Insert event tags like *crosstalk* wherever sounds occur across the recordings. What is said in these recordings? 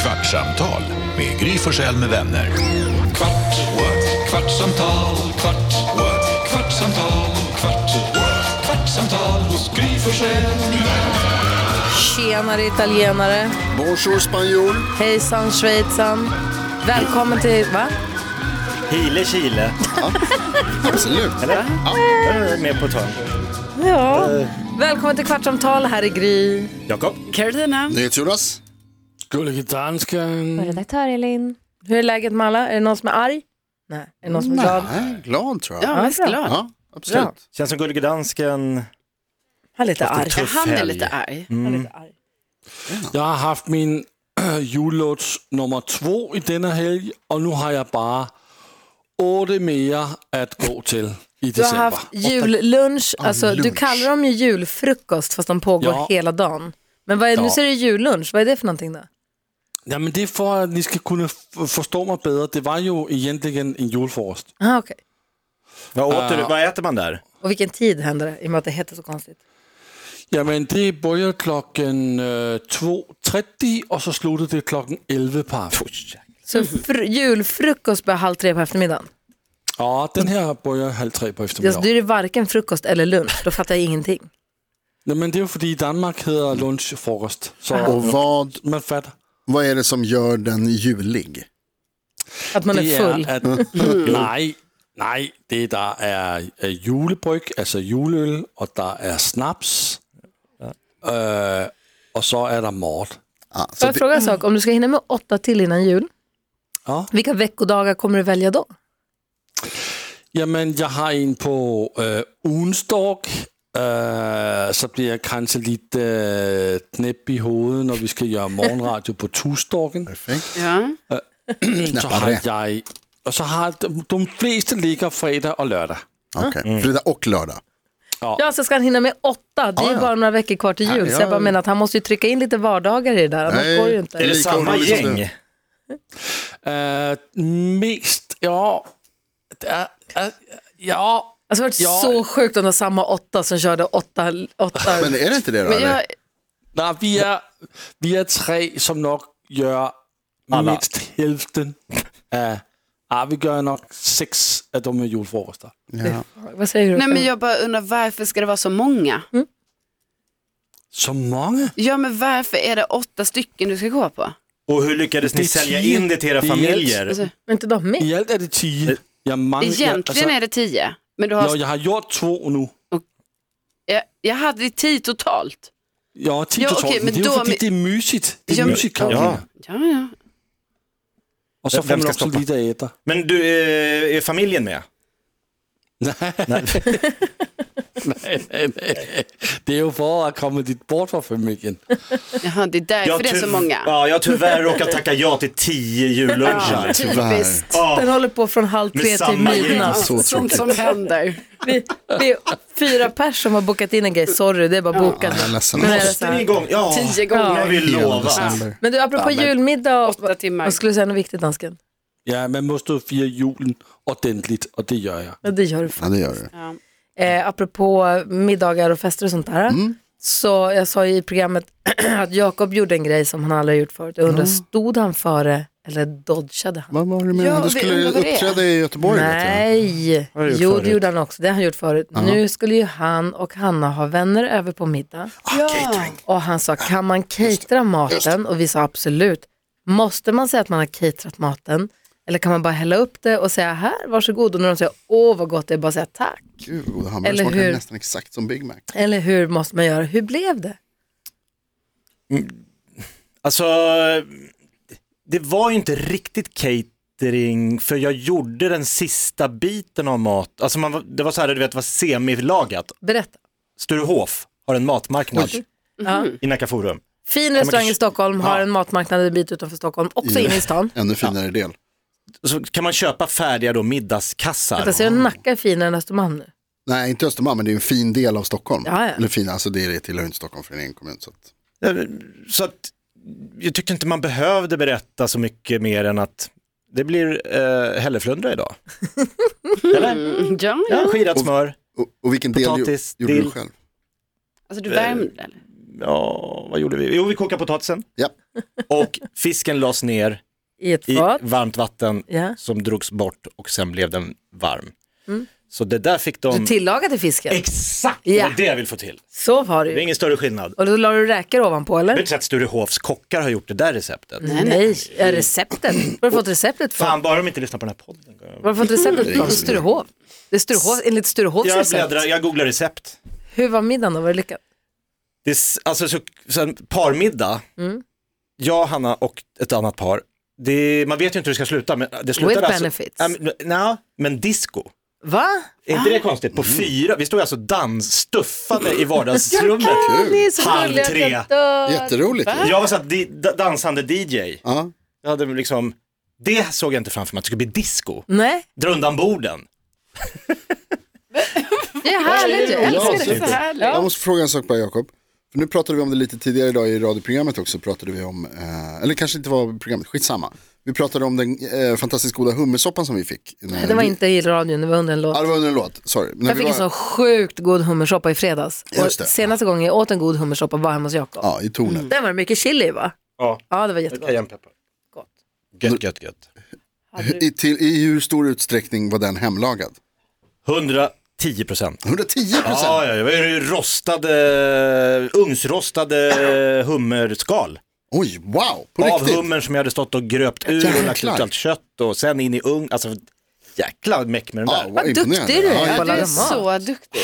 Kvartsamtal med Gry Forssell med vänner. Kvart, what? kvartsamtal, kvart, what? kvartsamtal, kvart, what? kvartsamtal hos Gry Forssell med vänner. Tjenare italienare. Bonjour spanjol. Hejsan schweizan. Välkommen till... Va? Chile, Chile. Absolut. Eller? Ja. Jag är med på ett hörn. Ja. Välkommen till Kvartsamtal. Här är Gry. Jakob? Karolina. NyhetsJonas. Gullige dansken. Redaktör Elin. Hur är läget med alla? Är det någon som är arg? Nej. Är det någon som är glad? Nej, glad tror jag. Ja, mest glad. Ja, absolut. Bra. Känns som Gullige Dansken. Han är lite arg. Ja, han är helg. lite arg. Han är lite arg. Jag har haft min *clears throat* jullåts nummer två i denna helg och nu har jag bara åtta mer att gå till Du i har december. haft jullunch. Alltså, Du lunch. kallar dem ju julfrukost fast de pågår Ja. hela dagen. Men vad är, nu Ja. ser du jullunch. Vad är det för någonting då? Ja, men det är för att ni ska kunna f- förstå mig bättre. Det var ju egentligen en julfrost. Aha, okej. Vad, åt du, vad äter man där? Och vilken tid händer det? I och med att det heter så konstigt. Ja, men det började klockan eh, 2.30 och så slutade det klockan 11 på aftonen. Så fr- julfrukost börjar halv tre på eftermiddagen. Ja, den här börjar halv tre på Alltså, då eftermiddagen. är det varken frukost eller lunch. Då fattar jag ingenting. Ja, men det är ju för att i Danmark heter lunch frukost. Så Ah. Och vad, man fattar. vad är det som gör den julig? Att man det är full. Är *laughs* att, nej, nej, det där är, är julebryg, alltså julöl, och där är snaps. Eh, och så är det mat. Ja, Ah, så Får jag det, fråga en sak? Om du ska hinna med åtta till innan jul, Ja. vilka veckodagar kommer du välja då? Jamen, jag har en på eh, onsdag. Eh, så blir jag kanske lite eh, knäpp i huvudet när vi ska göra morgonradio på torsdagen. perfekt. Ja. Så Knäppare. har jag, och så har de, de flesta ligger fredag och lördag. Okej. Fredag och lördag. Ja, så ska han hinna med åtta. Det är ju ja. bara några veckor kvar till jul. ja. Så jag bara menar att han måste ju trycka in lite vardagar i det där. Annars Nej. går det ju Är Är inte. det lika samma orolig som du. gäng? Eh, mest, ja... Det är, är, ja, Alltså, det har Ja. varit så sjukt om det var samma åtta som körde åtta. åtta. Men är det inte det då? Men eller? jag, nej, vi, är, vi är tre som nog gör Ah, Alla. minst hälften av... Ja, ah, vi gör nog sex av de med julfrukostar. ja. Vad säger du? nej, men jag bara undrar varför ska det vara så många? Så många? Ja men varför är det åtta stycken du ska gå på? Och hur lyckades ni Det är sälja tio. in det till era Det är familjer? Alltså, Är inte de med? I allt är det tio. Jag manglar, alltså- egentligen är det tio. Men du har, ja, jag har gjort två nu. jag, jag hade tio totalt. Ja, tio Ja, till okej, tolv. men Det är ju då- för att det är mysigt. Det är Ja, men- mysigt, ja. Karolina. Ja, ja. Och så Vem får man ska också stoppa? lite äta. Men du, eh, är familjen med? nej, nej, nej. Det är ju för att komma dit bort från familjen. Jaha, det är därför det är så tyv- många. Ja, jag har tyvärr råkat tacka ja till *laughs* tio julluncher. Typiskt. Ja. Den håller på från halv Med tre till samma gäng. midnatt. Så Sånt tråkigt. som händer. Vi, vi är fyra pers som har bokat in en grej. Sorry, det är bara bokat. Jag är ledsen. Men är det så Måste ni här? igång? Ja, Tio jag gånger. vill Hela lova. december. Men du, apropå julmiddag, och, Åtta timmar. vad skulle du säga något viktigt, dansken? Ja, man måste ju fira julen ordentligt och det gör jag. Ja, det gör du Ja, det gör du. Ja. eh, apropå middagar och fester och sånt där. Mm. Så jag sa ju i programmet *clears throat* att Jakob gjorde en grej som han aldrig har gjort förut. Jag undrar, stod han före eller dodgade han? Vad var det med Ja, ja, du vi skulle undrar vad det är. uppträda i Göteborg? Vet Nej, har gjort jo det förut. gjorde han också. Det har han gjort förut. Nu skulle ju han och Hanna ha vänner över på middag. Och han sa, kan man catera maten? Och vi sa absolut. Måste man säga att man har caterat maten? Eller kan man bara hälla upp det och säga här, varsågod. Och när de säger, åh vad gott det är, bara säga tack. du? Gud, vad god hamburgare Eller hur? smakar nästan exakt som Big Mac. Eller hur måste man göra? Hur blev det? Alltså, det var ju inte riktigt catering för jag gjorde den sista biten av mat. Alltså man, var- det var så här, du vet, det var semilagat. Berätta. Sturehof har en matmarknad Ja. i Nacka Forum. Fin restaurang kan- i Stockholm, har Ja. en matmarknad en bit utanför Stockholm, också Ja. inne i stan. Ännu finare del. Så kan man köpa färdiga då middagskassar. Vänta, ser du Nacka är finare än Östermalm nu? Nej, inte Östermalm, men det är en fin del av Stockholm. Ja, ja. Eller fin, alltså det är det tillhör inte Stockholm för en egen kommun. Så att, Eh, Så att jag tyckte inte man behövde berätta så mycket mer än att det blir eh, *laughs* hälleflundra idag. Eller? Mm, Ja, ja. Mm. Ja, skirat smör. och, och vilken del Potatis, gjorde dill. du själv? Alltså du värmde eller? ja, vad gjorde vi? Jo, vi kokade potatisen Ja. och fisken lades ner I ett i fat. varmt vatten Ja. Mm. som drogs bort och sen blev den varm. Så det där fick de... Du tillagade fisken. Exakt, Ja. det var det jag vill få till. så var det Det är ju. ingen större skillnad. Och då la du räkor ovanpå Jag har eller? inte sett Sturehofs kockar har gjort det där receptet. Nej, Äh, receptet. Var har du fått receptet från? Fan, bara de inte lyssnar på den här podden. Var har du fått receptet från? Sturehov. Det är Sturehov, enligt Sturehofs Jag, recept. bläddrar, jag googlar recept. Hur var middagen då? Var det lyckat? Det är, s- alltså så, så en parmiddag, Mm. jag, Hanna och ett annat par. Det, man vet ju inte hur det ska sluta. Men det slutade With alltså, benefits. Ja, men- nja, men disco. Va? Är Ah. inte det konstigt? På fyra, vi stod alltså *laughs* dansstuffade i vardagsrummet. Kul. Ni är så Halv gulliga att tre. jag dör. Jätteroligt. ju. Jag var så här, di, da- dansande DJ. Ja. Jag hade liksom, det såg jag inte framför mig, att det skulle bli disco. Nej, Dra undan borden. det är härligt ju. Jag älskar det. absolut. Så härligt. Jag måste fråga en sak bara Jakob. För nu pratade vi om det lite tidigare idag i radioprogrammet också. Pratade vi om, eh, eller kanske inte var programmet, skitsamma. Vi pratade om den eh, fantastiskt goda hummersoppan som vi fick. Nej, Det var inte i radion, det var under en låt. Mm. Ja, det var under en låt, sorry. När Jag vi fick en sån var- sjukt god hummersoppa i fredags. Och Just det. senaste gången jag åt en god hummersoppa var hemma hos Jakob. Ja, i tornet. Den var mycket chili va? Ja. Ja, det var jättegott. Cayennepeppar. Gott. Gött, gött, gött. I, till, I hur stor utsträckning var den hemlagad? 110 procent. 110 procent? Ja, ja, det var ju rostade, ugnsrostade hummerskal. Oj, wow, på av riktigt? hummern som jag hade stått och gröpt ur och lagt ut Jäklar. allt kött och sen in i ugn. Alltså jäkla meck med den Ja, där. Vad imponerande. duktig du är. Ja, Ja, du Kolla är den så duktig.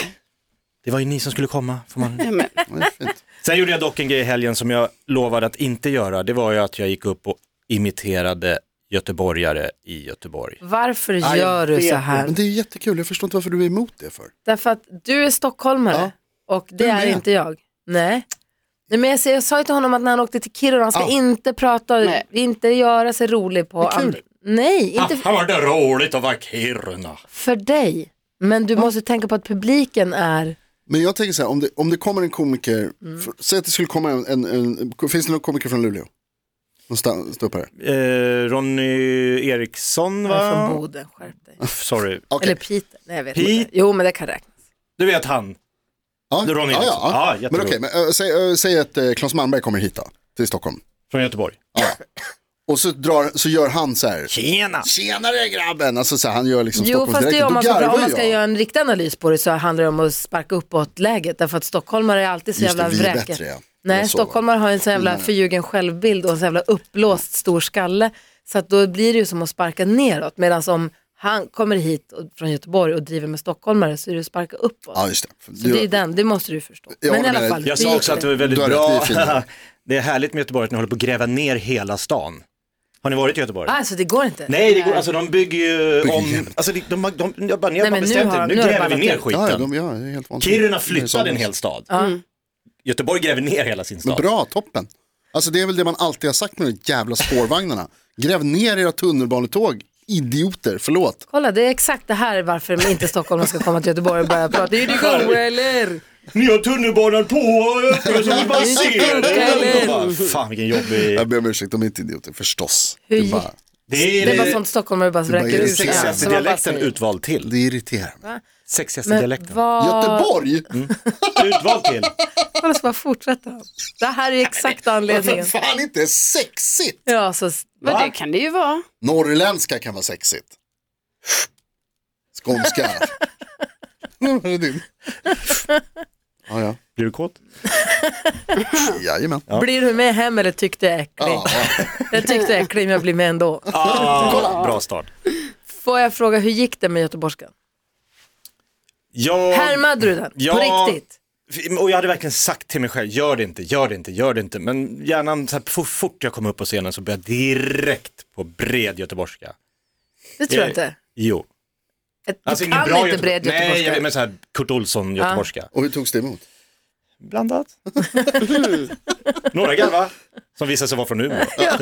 Det var ju ni som skulle komma. Får man... Ja, men, ja, det är fint. sen gjorde jag dock en grej i helgen som jag lovade att inte göra. Det var ju att jag gick upp och imiterade göteborgare i Göteborg. Varför gör du så här? Men det är ju jättekul, jag förstår inte varför du är emot det för. Därför att du är stockholmare och det är med. inte jag. Nej. Nej, men jag, säger, jag sa ju till honom att när han åkte till Kiruna, han ska inte prata, Nej. inte göra sig rolig på... kul. Ah. and- Nej, inte Fan vad det är roligt att vara i Kiruna. för dig. Men du måste tänka på att publiken är... Men jag tänker så här, om det, om det kommer en komiker, Mm. för, säg att det skulle komma en, en, en finns det någon komiker från Luleå? Någon sta- ståuppare? Eh, Ronny Eriksson Jag är va? från Boden, skärp dig. Sorry. Okej. Eller Peter. Nej, jag vet Pete. inte. Jo, men det kan räknas. Du vet han. Ja, Det är Ronny ja, Eriksson. Ja, ja. ja. Men jätteroligt. okej, men, äh, säg, äh, säg att äh, Claes Malmberg kommer hit då, till Stockholm. Från Göteborg. Och så, drar, så gör han så här, Tjena! tjenare grabben, alltså så här, han gör liksom Jo, fast det Stockholmsdialekten. är om, man Då ska, garvar om man ska jag. göra en riktig analys på det så handlar det om att sparka uppåt läget. Därför att stockholmare är alltid så Just det, jävla vi är vräkiga. bättre, ja. Det Nej, Mm. var så, va? stockholmare har en så jävla förljugen självbild och en så jävla uppblåst stor skalle. Så att då blir det ju som att sparka neråt. Medan om han kommer hit och, från Göteborg och driver med stockholmare så är det att sparka uppåt. Ja, just det. För så du- det är den, det måste du förstå. Jag Men i håller alla med fall, dig. Jag hur sa gick också att det det? var väldigt Du har bra. rätt, vi är fina. *laughs* det är härligt med Göteborg att ni håller på att gräva ner hela stan. Har ni varit i Göteborg? Alltså det går inte. Nej, det går, alltså de bygger ju om, jämt. alltså de, de, de, de, de, de har men bara nu bestämt har- det, nu nu har de gräver vi ballat ner ur. Ja, ja, skiten. de, ja, det är helt vansinnigt. Kiruna Det är flyttade så- en hel stad. Mm. Göteborg gräver ner hela sin Men stad. bra, toppen. Alltså det är väl det man alltid har sagt med de jävla spårvagnarna. Gräv ner era tunnelbanetåg, idioter, förlåt. Kolla, det är exakt det här varför inte stockholmare ska komma till Göteborg och börja prata. Det är ju det goa, eller? Ni har tunnelbanan på och öppen så *laughs* vi bara ser Eller? den. Bara, Fan vilken jobbig... Jag ber om ursäkt, de är inte idioter, förstås. Hur Det, gick- bara, Det Det är är bara sånt stockholmare bara bara vräker Eh, är ut. sig. sexigaste Som man bara sexigaste-dialekten säger. utvald till. det irriterar mig. Sexigaste Men dialekten. Eh, vad... Göteborg? Mm. Utvald till. Kolla så bara fortsätter han. Det här är exakt anledningen. Varför *laughs* fan inte sexigt? Ja, så... men det kan det ju vara. Norrländska kan vara sexigt. Skånska. *laughs* Nu var det din. Ah, Ja, ja. Blir du kåt? Jajamän. Blir du med hem eller tyckte jag är äcklig? Ja, ja. Jag tyckte jag är äcklig men jag blir med ändå. Ah, bra start. Får jag fråga, hur gick det med göteborgskan? Jag, Härmade du den? Ja. På riktigt? och jag hade verkligen sagt till mig själv, gör det inte, gör det inte, gör det inte. Men hjärnan, så här, så fort jag kom upp på scenen så började jag direkt på bred göteborgska. Eh, Det tror jag inte. Jo. Du Alltså, ingen kan bra inte göte- bred Nej, jag vet, göteborgska. men så här Kurt Olsson göteborgska. Och hur togs det emot? Blandat. *laughs* Några garva som visade sig vara från Umeå. Ja,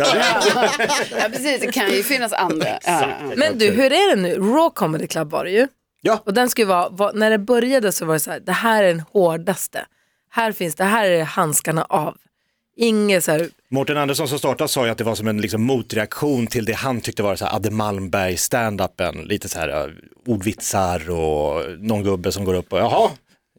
precis. Det kan ju finnas andra. Ja. Men du, hur är det nu? Raw Comedy Club var det ju. Ja. Och den ska ju vara, var, när det började så var det så här, det här är den hårdaste. Här finns, det här är handskarna av. Inget så här, Mårten Andersson som startade sa ju att det var som en liksom, motreaktion till det han tyckte var så här Adde Malmberg standupen, lite så här eh, ordvitsar och någon gubbe som går upp och jaha,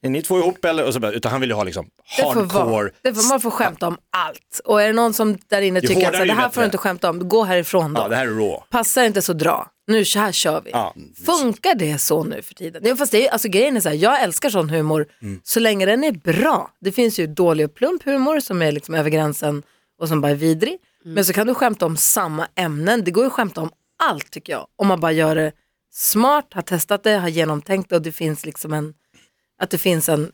Är ni två ihop eller? Och så, bara- utan han vill ju ha liksom Det får vara, hardcore. det får, man får skämta om allt. Och är det någon som där inne tycker att hårdare, så här, det ju här bättre." får du inte skämta om, gå härifrån då. Ja, det här är raw. Passar inte så dra. Nu så här kör vi. Ja. Funkar det så nu för tiden? Ja, fast det är, alltså, grejen är så här, jag älskar sån humor Mm. så länge den är bra. Det finns ju dålig och plump humor som är liksom över gränsen och som bara är vidrig. Men så kan du skämta om samma ämnen. Det går ju att skämta om allt tycker jag. Om man bara gör det smart, har testat det, har genomtänkt det och det finns liksom en, att det finns en,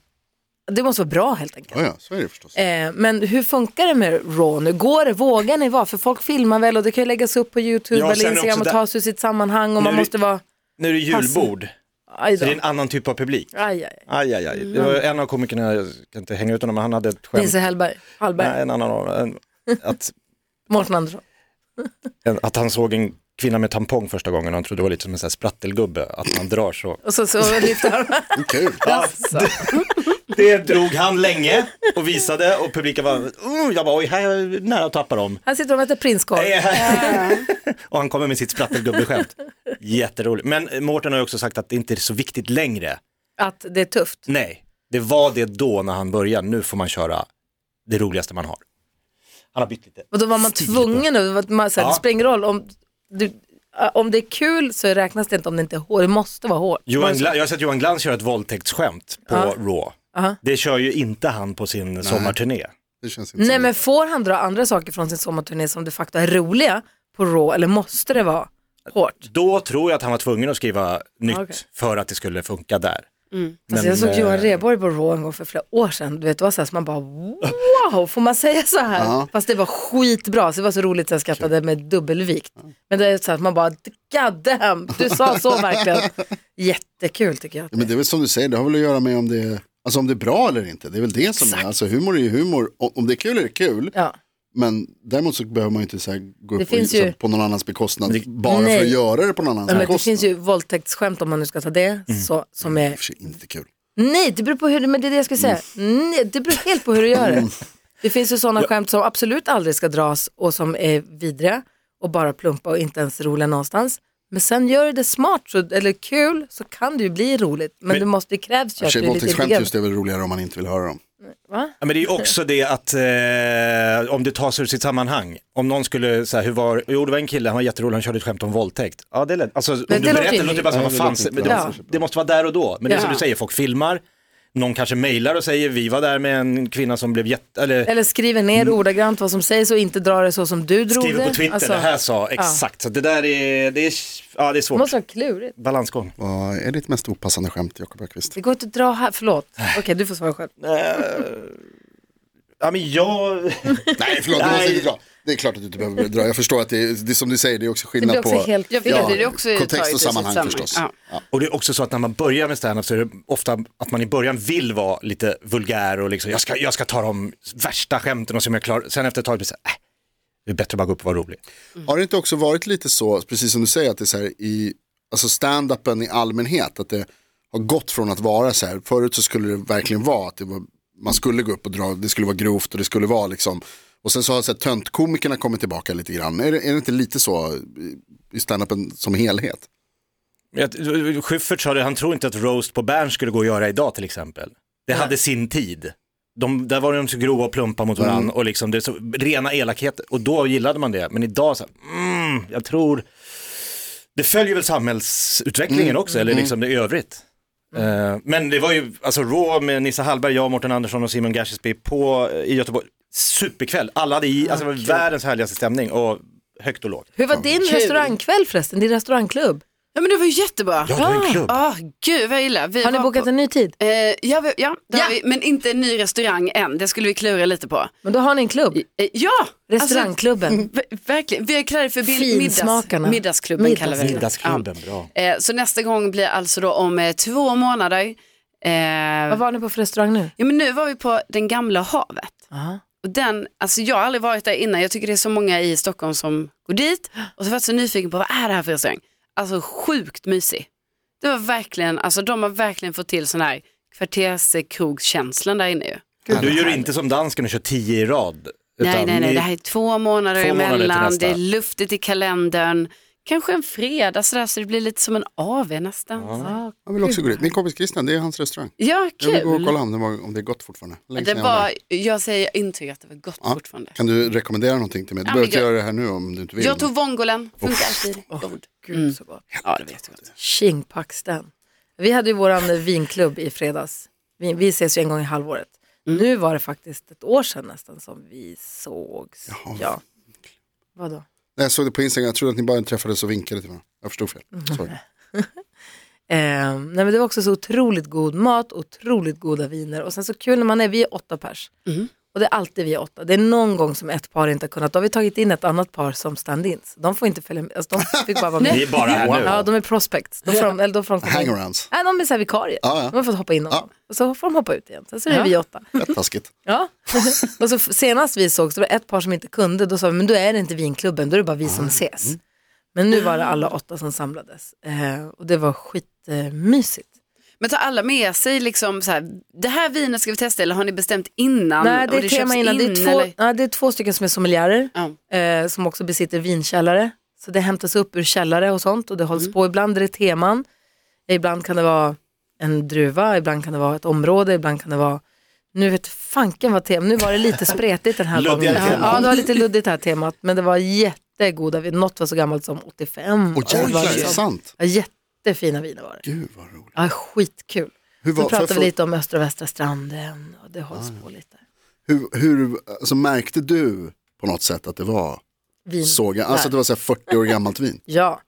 det måste vara bra helt enkelt. Ja, ja, så är det förstås. Eh, men hur funkar det med Raw nu? Går det? Vågar ni vara? För folk filmar väl och det kan ju läggas upp på YouTube Jag eller känner Instagram också och det- tas ur sitt sammanhang och Nu man är det- måste vara... Nu är det julbord, Aj så då. det är en annan typ av publik. Aj, aj, aj. Aj, aj, aj. Det var Mm. en av komikerna, jag kan inte hänga ut honom, men han hade ett skämt. Nisse Hellberg, Nej, Hallberg, en annan av en, att, Mårten Andersson. en, att han såg en kvinna med tampong första gången och han trodde det var lite som en sån här sprattelgubbe, att man drar så. Och så, så lyfter *laughs* han. Kul. Det drog han länge och visade och publiken var, oh, jag var oj, här är jag nära att tappa dem. Eh. Han sitter och äter prinskorv. *laughs* och han kommer med sitt sprattelgubbeskämt. Jätteroligt. Men Mårten har ju också sagt att det inte är så viktigt längre. Att det är tufft. Nej, det var det då när han började. Nu får man köra det roligaste man har. Han har bytt lite. Och då var man tvungen, och det var att man, så här, Ja. det spelar ingen roll om, du, äh, om det är kul så räknas det inte om det inte är hårt. Det måste vara hårt. Johan Gla- jag har sett Johan Glans köra ett våldtäktsskämt på Raw. Aha. Det kör ju inte han på sin sommarturné. Det känns inte Nej som- men får han dra andra saker från sin sommarturné som de facto är roliga på Raw eller måste det vara hårt? Då tror jag att han var tvungen att skriva nytt okej. för att det skulle funka där. Alltså jag såg eh, Johan Rheborg på Raw en gång för flera år sedan. Du vet, det var så här, så man bara wow, får man säga så här? Ja. Fast det var skitbra, så det var så roligt så jag skrattade med dubbelvikt. Men det är så här, att man bara god damn, du sa så verkligen. Jättekul tycker jag. Ja, Men det är väl som du säger, det har väl att göra med om det är, alltså om det är bra eller inte. Det är väl det som är, alltså humor är ju humor. O- Om det är kul är det kul, Ja. men däremot så behöver man ju inte så här gå upp och, finns så här ju- på någon annans bekostnad bara Nej. för att göra det på någon annans Men det bekostnad. finns ju våldtäktsskämt om man nu ska ta det, så, som är I och för sig inte kul. Nej, det beror på hur, men det är det jag skulle säga. Mm. Nej, det beror helt på hur du gör det. Det finns ju sådana skämt som absolut aldrig ska dras och som är vidriga och bara plumpa och inte ens roliga någonstans. Men sen gör du det smart så, eller kul så kan det ju bli roligt. Men, det måste det krävs ju I och att du för sig är lite våldtäktsskämt intelligent. just det är väl roligare om man inte vill höra dem. Va? Ja, men det är ju också det att eh, om det tas ur sitt sammanhang. Om någon skulle säga, hur var, jo det var en kille, han var jätterolig, han körde ett skämt om våldtäkt. Ja det lät, alltså om det du låter berättar ju det låter det bara som, Ja, vad det fan, låter men inte det, bra. måste, det måste vara där och då. Men det är som Ja. du säger, folk filmar, någon kanske mejlar och säger, vi var där med en kvinna som blev jätte, eller, Eller skriver ner ordagrant vad som sägs och inte drar det så som du drog Mm. skriver det. Alltså, på Twitter, det här sa, exakt. Så det där är, det är, ja det är Det svårt. måste vara klurigt. Balansgång. Vad är ditt mest opassande skämt, Jakob *laughs* Öqvist? Det går inte att dra här, förlåt. Okej, du får svara själv. Ja men jag, Nej, förlåt, det måste Nej. inte dra. Det är klart att du inte behöver dra. Jag förstår att det är, det är som du säger, det är också Det blir skillnad på också helt Jag fel. vet det är också taget i kontext och sitt sammanhang förstås. Ja. Och det är också så att när man börjar med standup så är det ofta att man i början vill vara lite vulgär och liksom, jag ska, jag ska ta de värsta skämten och se om jag klarar, sen efter ett tag blir det så här, äh, det är bättre att bara gå upp och vara rolig. Har det inte också varit lite så, precis som du säger, att det är så här i alltså stand-upen i allmänhet, att det har gått från att vara så här, förut så skulle det verkligen vara att det var, man skulle gå upp och dra, det skulle vara grovt och det skulle vara liksom, och sen så har så här, töntkomikerna kommit tillbaka lite grann. Är det, är det inte lite så i- i stand-upen som helhet? Jag- Schyffert sa det, han tror inte att roast på Bern skulle gå att göra idag till exempel. Det hade sin tid. De, där var de så grova och plumpa mot varandra och liksom, det är så, rena elakheter och då gillade man det. Men idag så, här, mm, jag tror, det följer väl samhällsutvecklingen också, eller liksom det i övrigt. Eh, men det var ju, alltså Raw med Nissa Hallberg, jag, Mårten Andersson och Simon Gashesby på eh, i Göteborg, superkväll. Alla hade i, alltså det var världens härligaste stämning och högt och lågt. Hur var din restaurangkväll förresten? Din restaurangklubb? Ja men det var ju jättebra. Ja, det var en klubb. Ah, gud vad jag gillar. Vi Har ni var bokat på... en ny tid? Eh, ja, vi, ja, det Ja. Har vi, men inte en ny restaurang än. Det skulle vi klura lite på. Men då har ni en klubb. Eh, ja, Restaurangklubben. Alltså, *laughs* ver- verkligen. Vi kallar det för bild- Finsmakarna. middags, middagsklubben. Kallar vi det. Middagsklubben, bra. Ja. Eh, så nästa gång blir alltså då om eh, två månader. Eh, Vad var ni på för restaurang nu? ja, men nu var vi på den gamla havet. Och den, alltså jag har aldrig varit där innan. Jag tycker det är så många i Stockholm som går dit. Och så var jag så nyfiken på vad är det här för restaurang? Alltså sjukt mysig. Det var verkligen, alltså de har verkligen fått till sån här kvarterskrogskänslan där inne ju. Du gör inte som dansken och kör tio i rad. Nej, utan nej, nej, ni- det här är två månader Två månader till emellan, nästa. det är luftigt i kalendern, Kanske en fredag sådär så det blir lite som en AV nästan. Ja, Jag vill också gå dit. Min kompis Christian, det är hans restaurang. Jag vill gå och kul. kolla om det, var, om det är gott fortfarande. Länge Det sedan jag var var, där. jag säger intyg att det var gott fortfarande. Kan du rekommendera någonting till mig? Du Ja, behöver inte men jag- göra det här nu om du inte vill. Jag tog vongolen, funkar alltid. God. Gud så gott. Ja, det vet jag. Tjingpaxten. Vi hade ju vår vinklubb i fredags. Vi, vi ses ju en gång i halvåret. Nu var det faktiskt ett år sedan nästan som vi sågs. Ja. Vadå? Nej, jag såg det på Instagram, jag trodde att ni bara träffades och vinkade till varandra. Jag förstod fel. Mm. Sorry. Eh, nej men det var också så otroligt god mat, otroligt goda viner och sen så kul när man är, vi är åtta pers. Mm. Och det är alltid vi åtta. Det är någon gång som ett par inte har kunnat, då har vi tagit in ett annat par som stand-ins. De får inte följa med, alltså, de fick *laughs* bara vara med. Vi är bara här nu. Ja, de är prospects. Då får de, eller då får de komma in. Hangarounds, Nej, de är så här vikarier. Ja, ja. De har fått hoppa in och, Ja. och så får de hoppa ut igen. Sen så är det vi åtta. rätt *laughs* taskigt. Ja. *laughs* och så f- senast vi sågs, det var ett par som inte kunde, då sa vi, men då är det inte vinklubben, då är det bara vi Mm. som ses. Men nu var det alla åtta som samlades eh, och det var skitmysigt. Eh, mysigt. Men tar alla med sig liksom så här, det här vinet ska vi testa eller har ni bestämt innan? Nej, det och är tema köps innan. det, in, är två, eller? ja, det är två stycken som är sommeljärer Ja. eh, som också besitter vinkällare. Så det hämtas upp ur källare och sånt och det Mm. hålls på. Ibland är det teman, ibland kan det vara en druva, ibland kan det vara ett område, ibland kan det vara nu vet fanken vad temat, nu var det lite spretigt den här Luddiga gången. teman. Ja, det var lite luddigt det här temat, men det var jättegoda viner. Något var så gammalt som 85. Och Alltså, det var jävlar, är det liksom- sant? ja, jättefina viner var det. Gud vad roligt. Ja, skitkul. Hur Sen var, för, Ah, pratade vi för, lite om östra och västra stranden och det hålls på lite. hur, hur, alltså, märkte du på något sätt att det var Vin. såg jag, alltså där. att det var så här 40 år gammalt vin? Ja.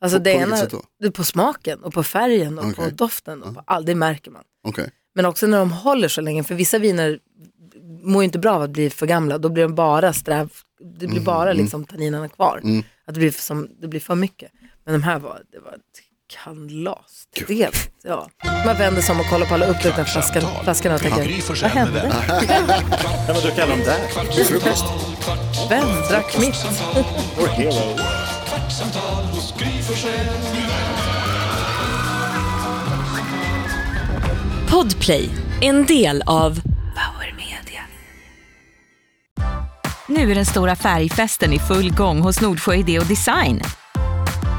Alltså På- det på vilket ena, sätt då? det är på smaken och på färgen och på Okej. doften och på all, det märker man. Okej, Men också när de håller så länge, för vissa viner mår ju inte bra av att bli för gamla, då blir de bara sträv, det Mm, blir bara liksom tanninerna kvar. Att det blir, för, som, det blir för mycket. Men de här var, det var ett kalas. Dels, ja. Man vänder sig om och kollar på alla upplupna flaskan, flaskorna och Gry tänker, Forssell vad med hände? Ja, men då kallar de där. frukost. Vem drack mitt? Vår hero. Kvartsamtal hos Gry Forssell med vänner. Podplay, en del av Power Media. Nu är den stora färgfesten i full gång hos Nordsjö Idé och Design.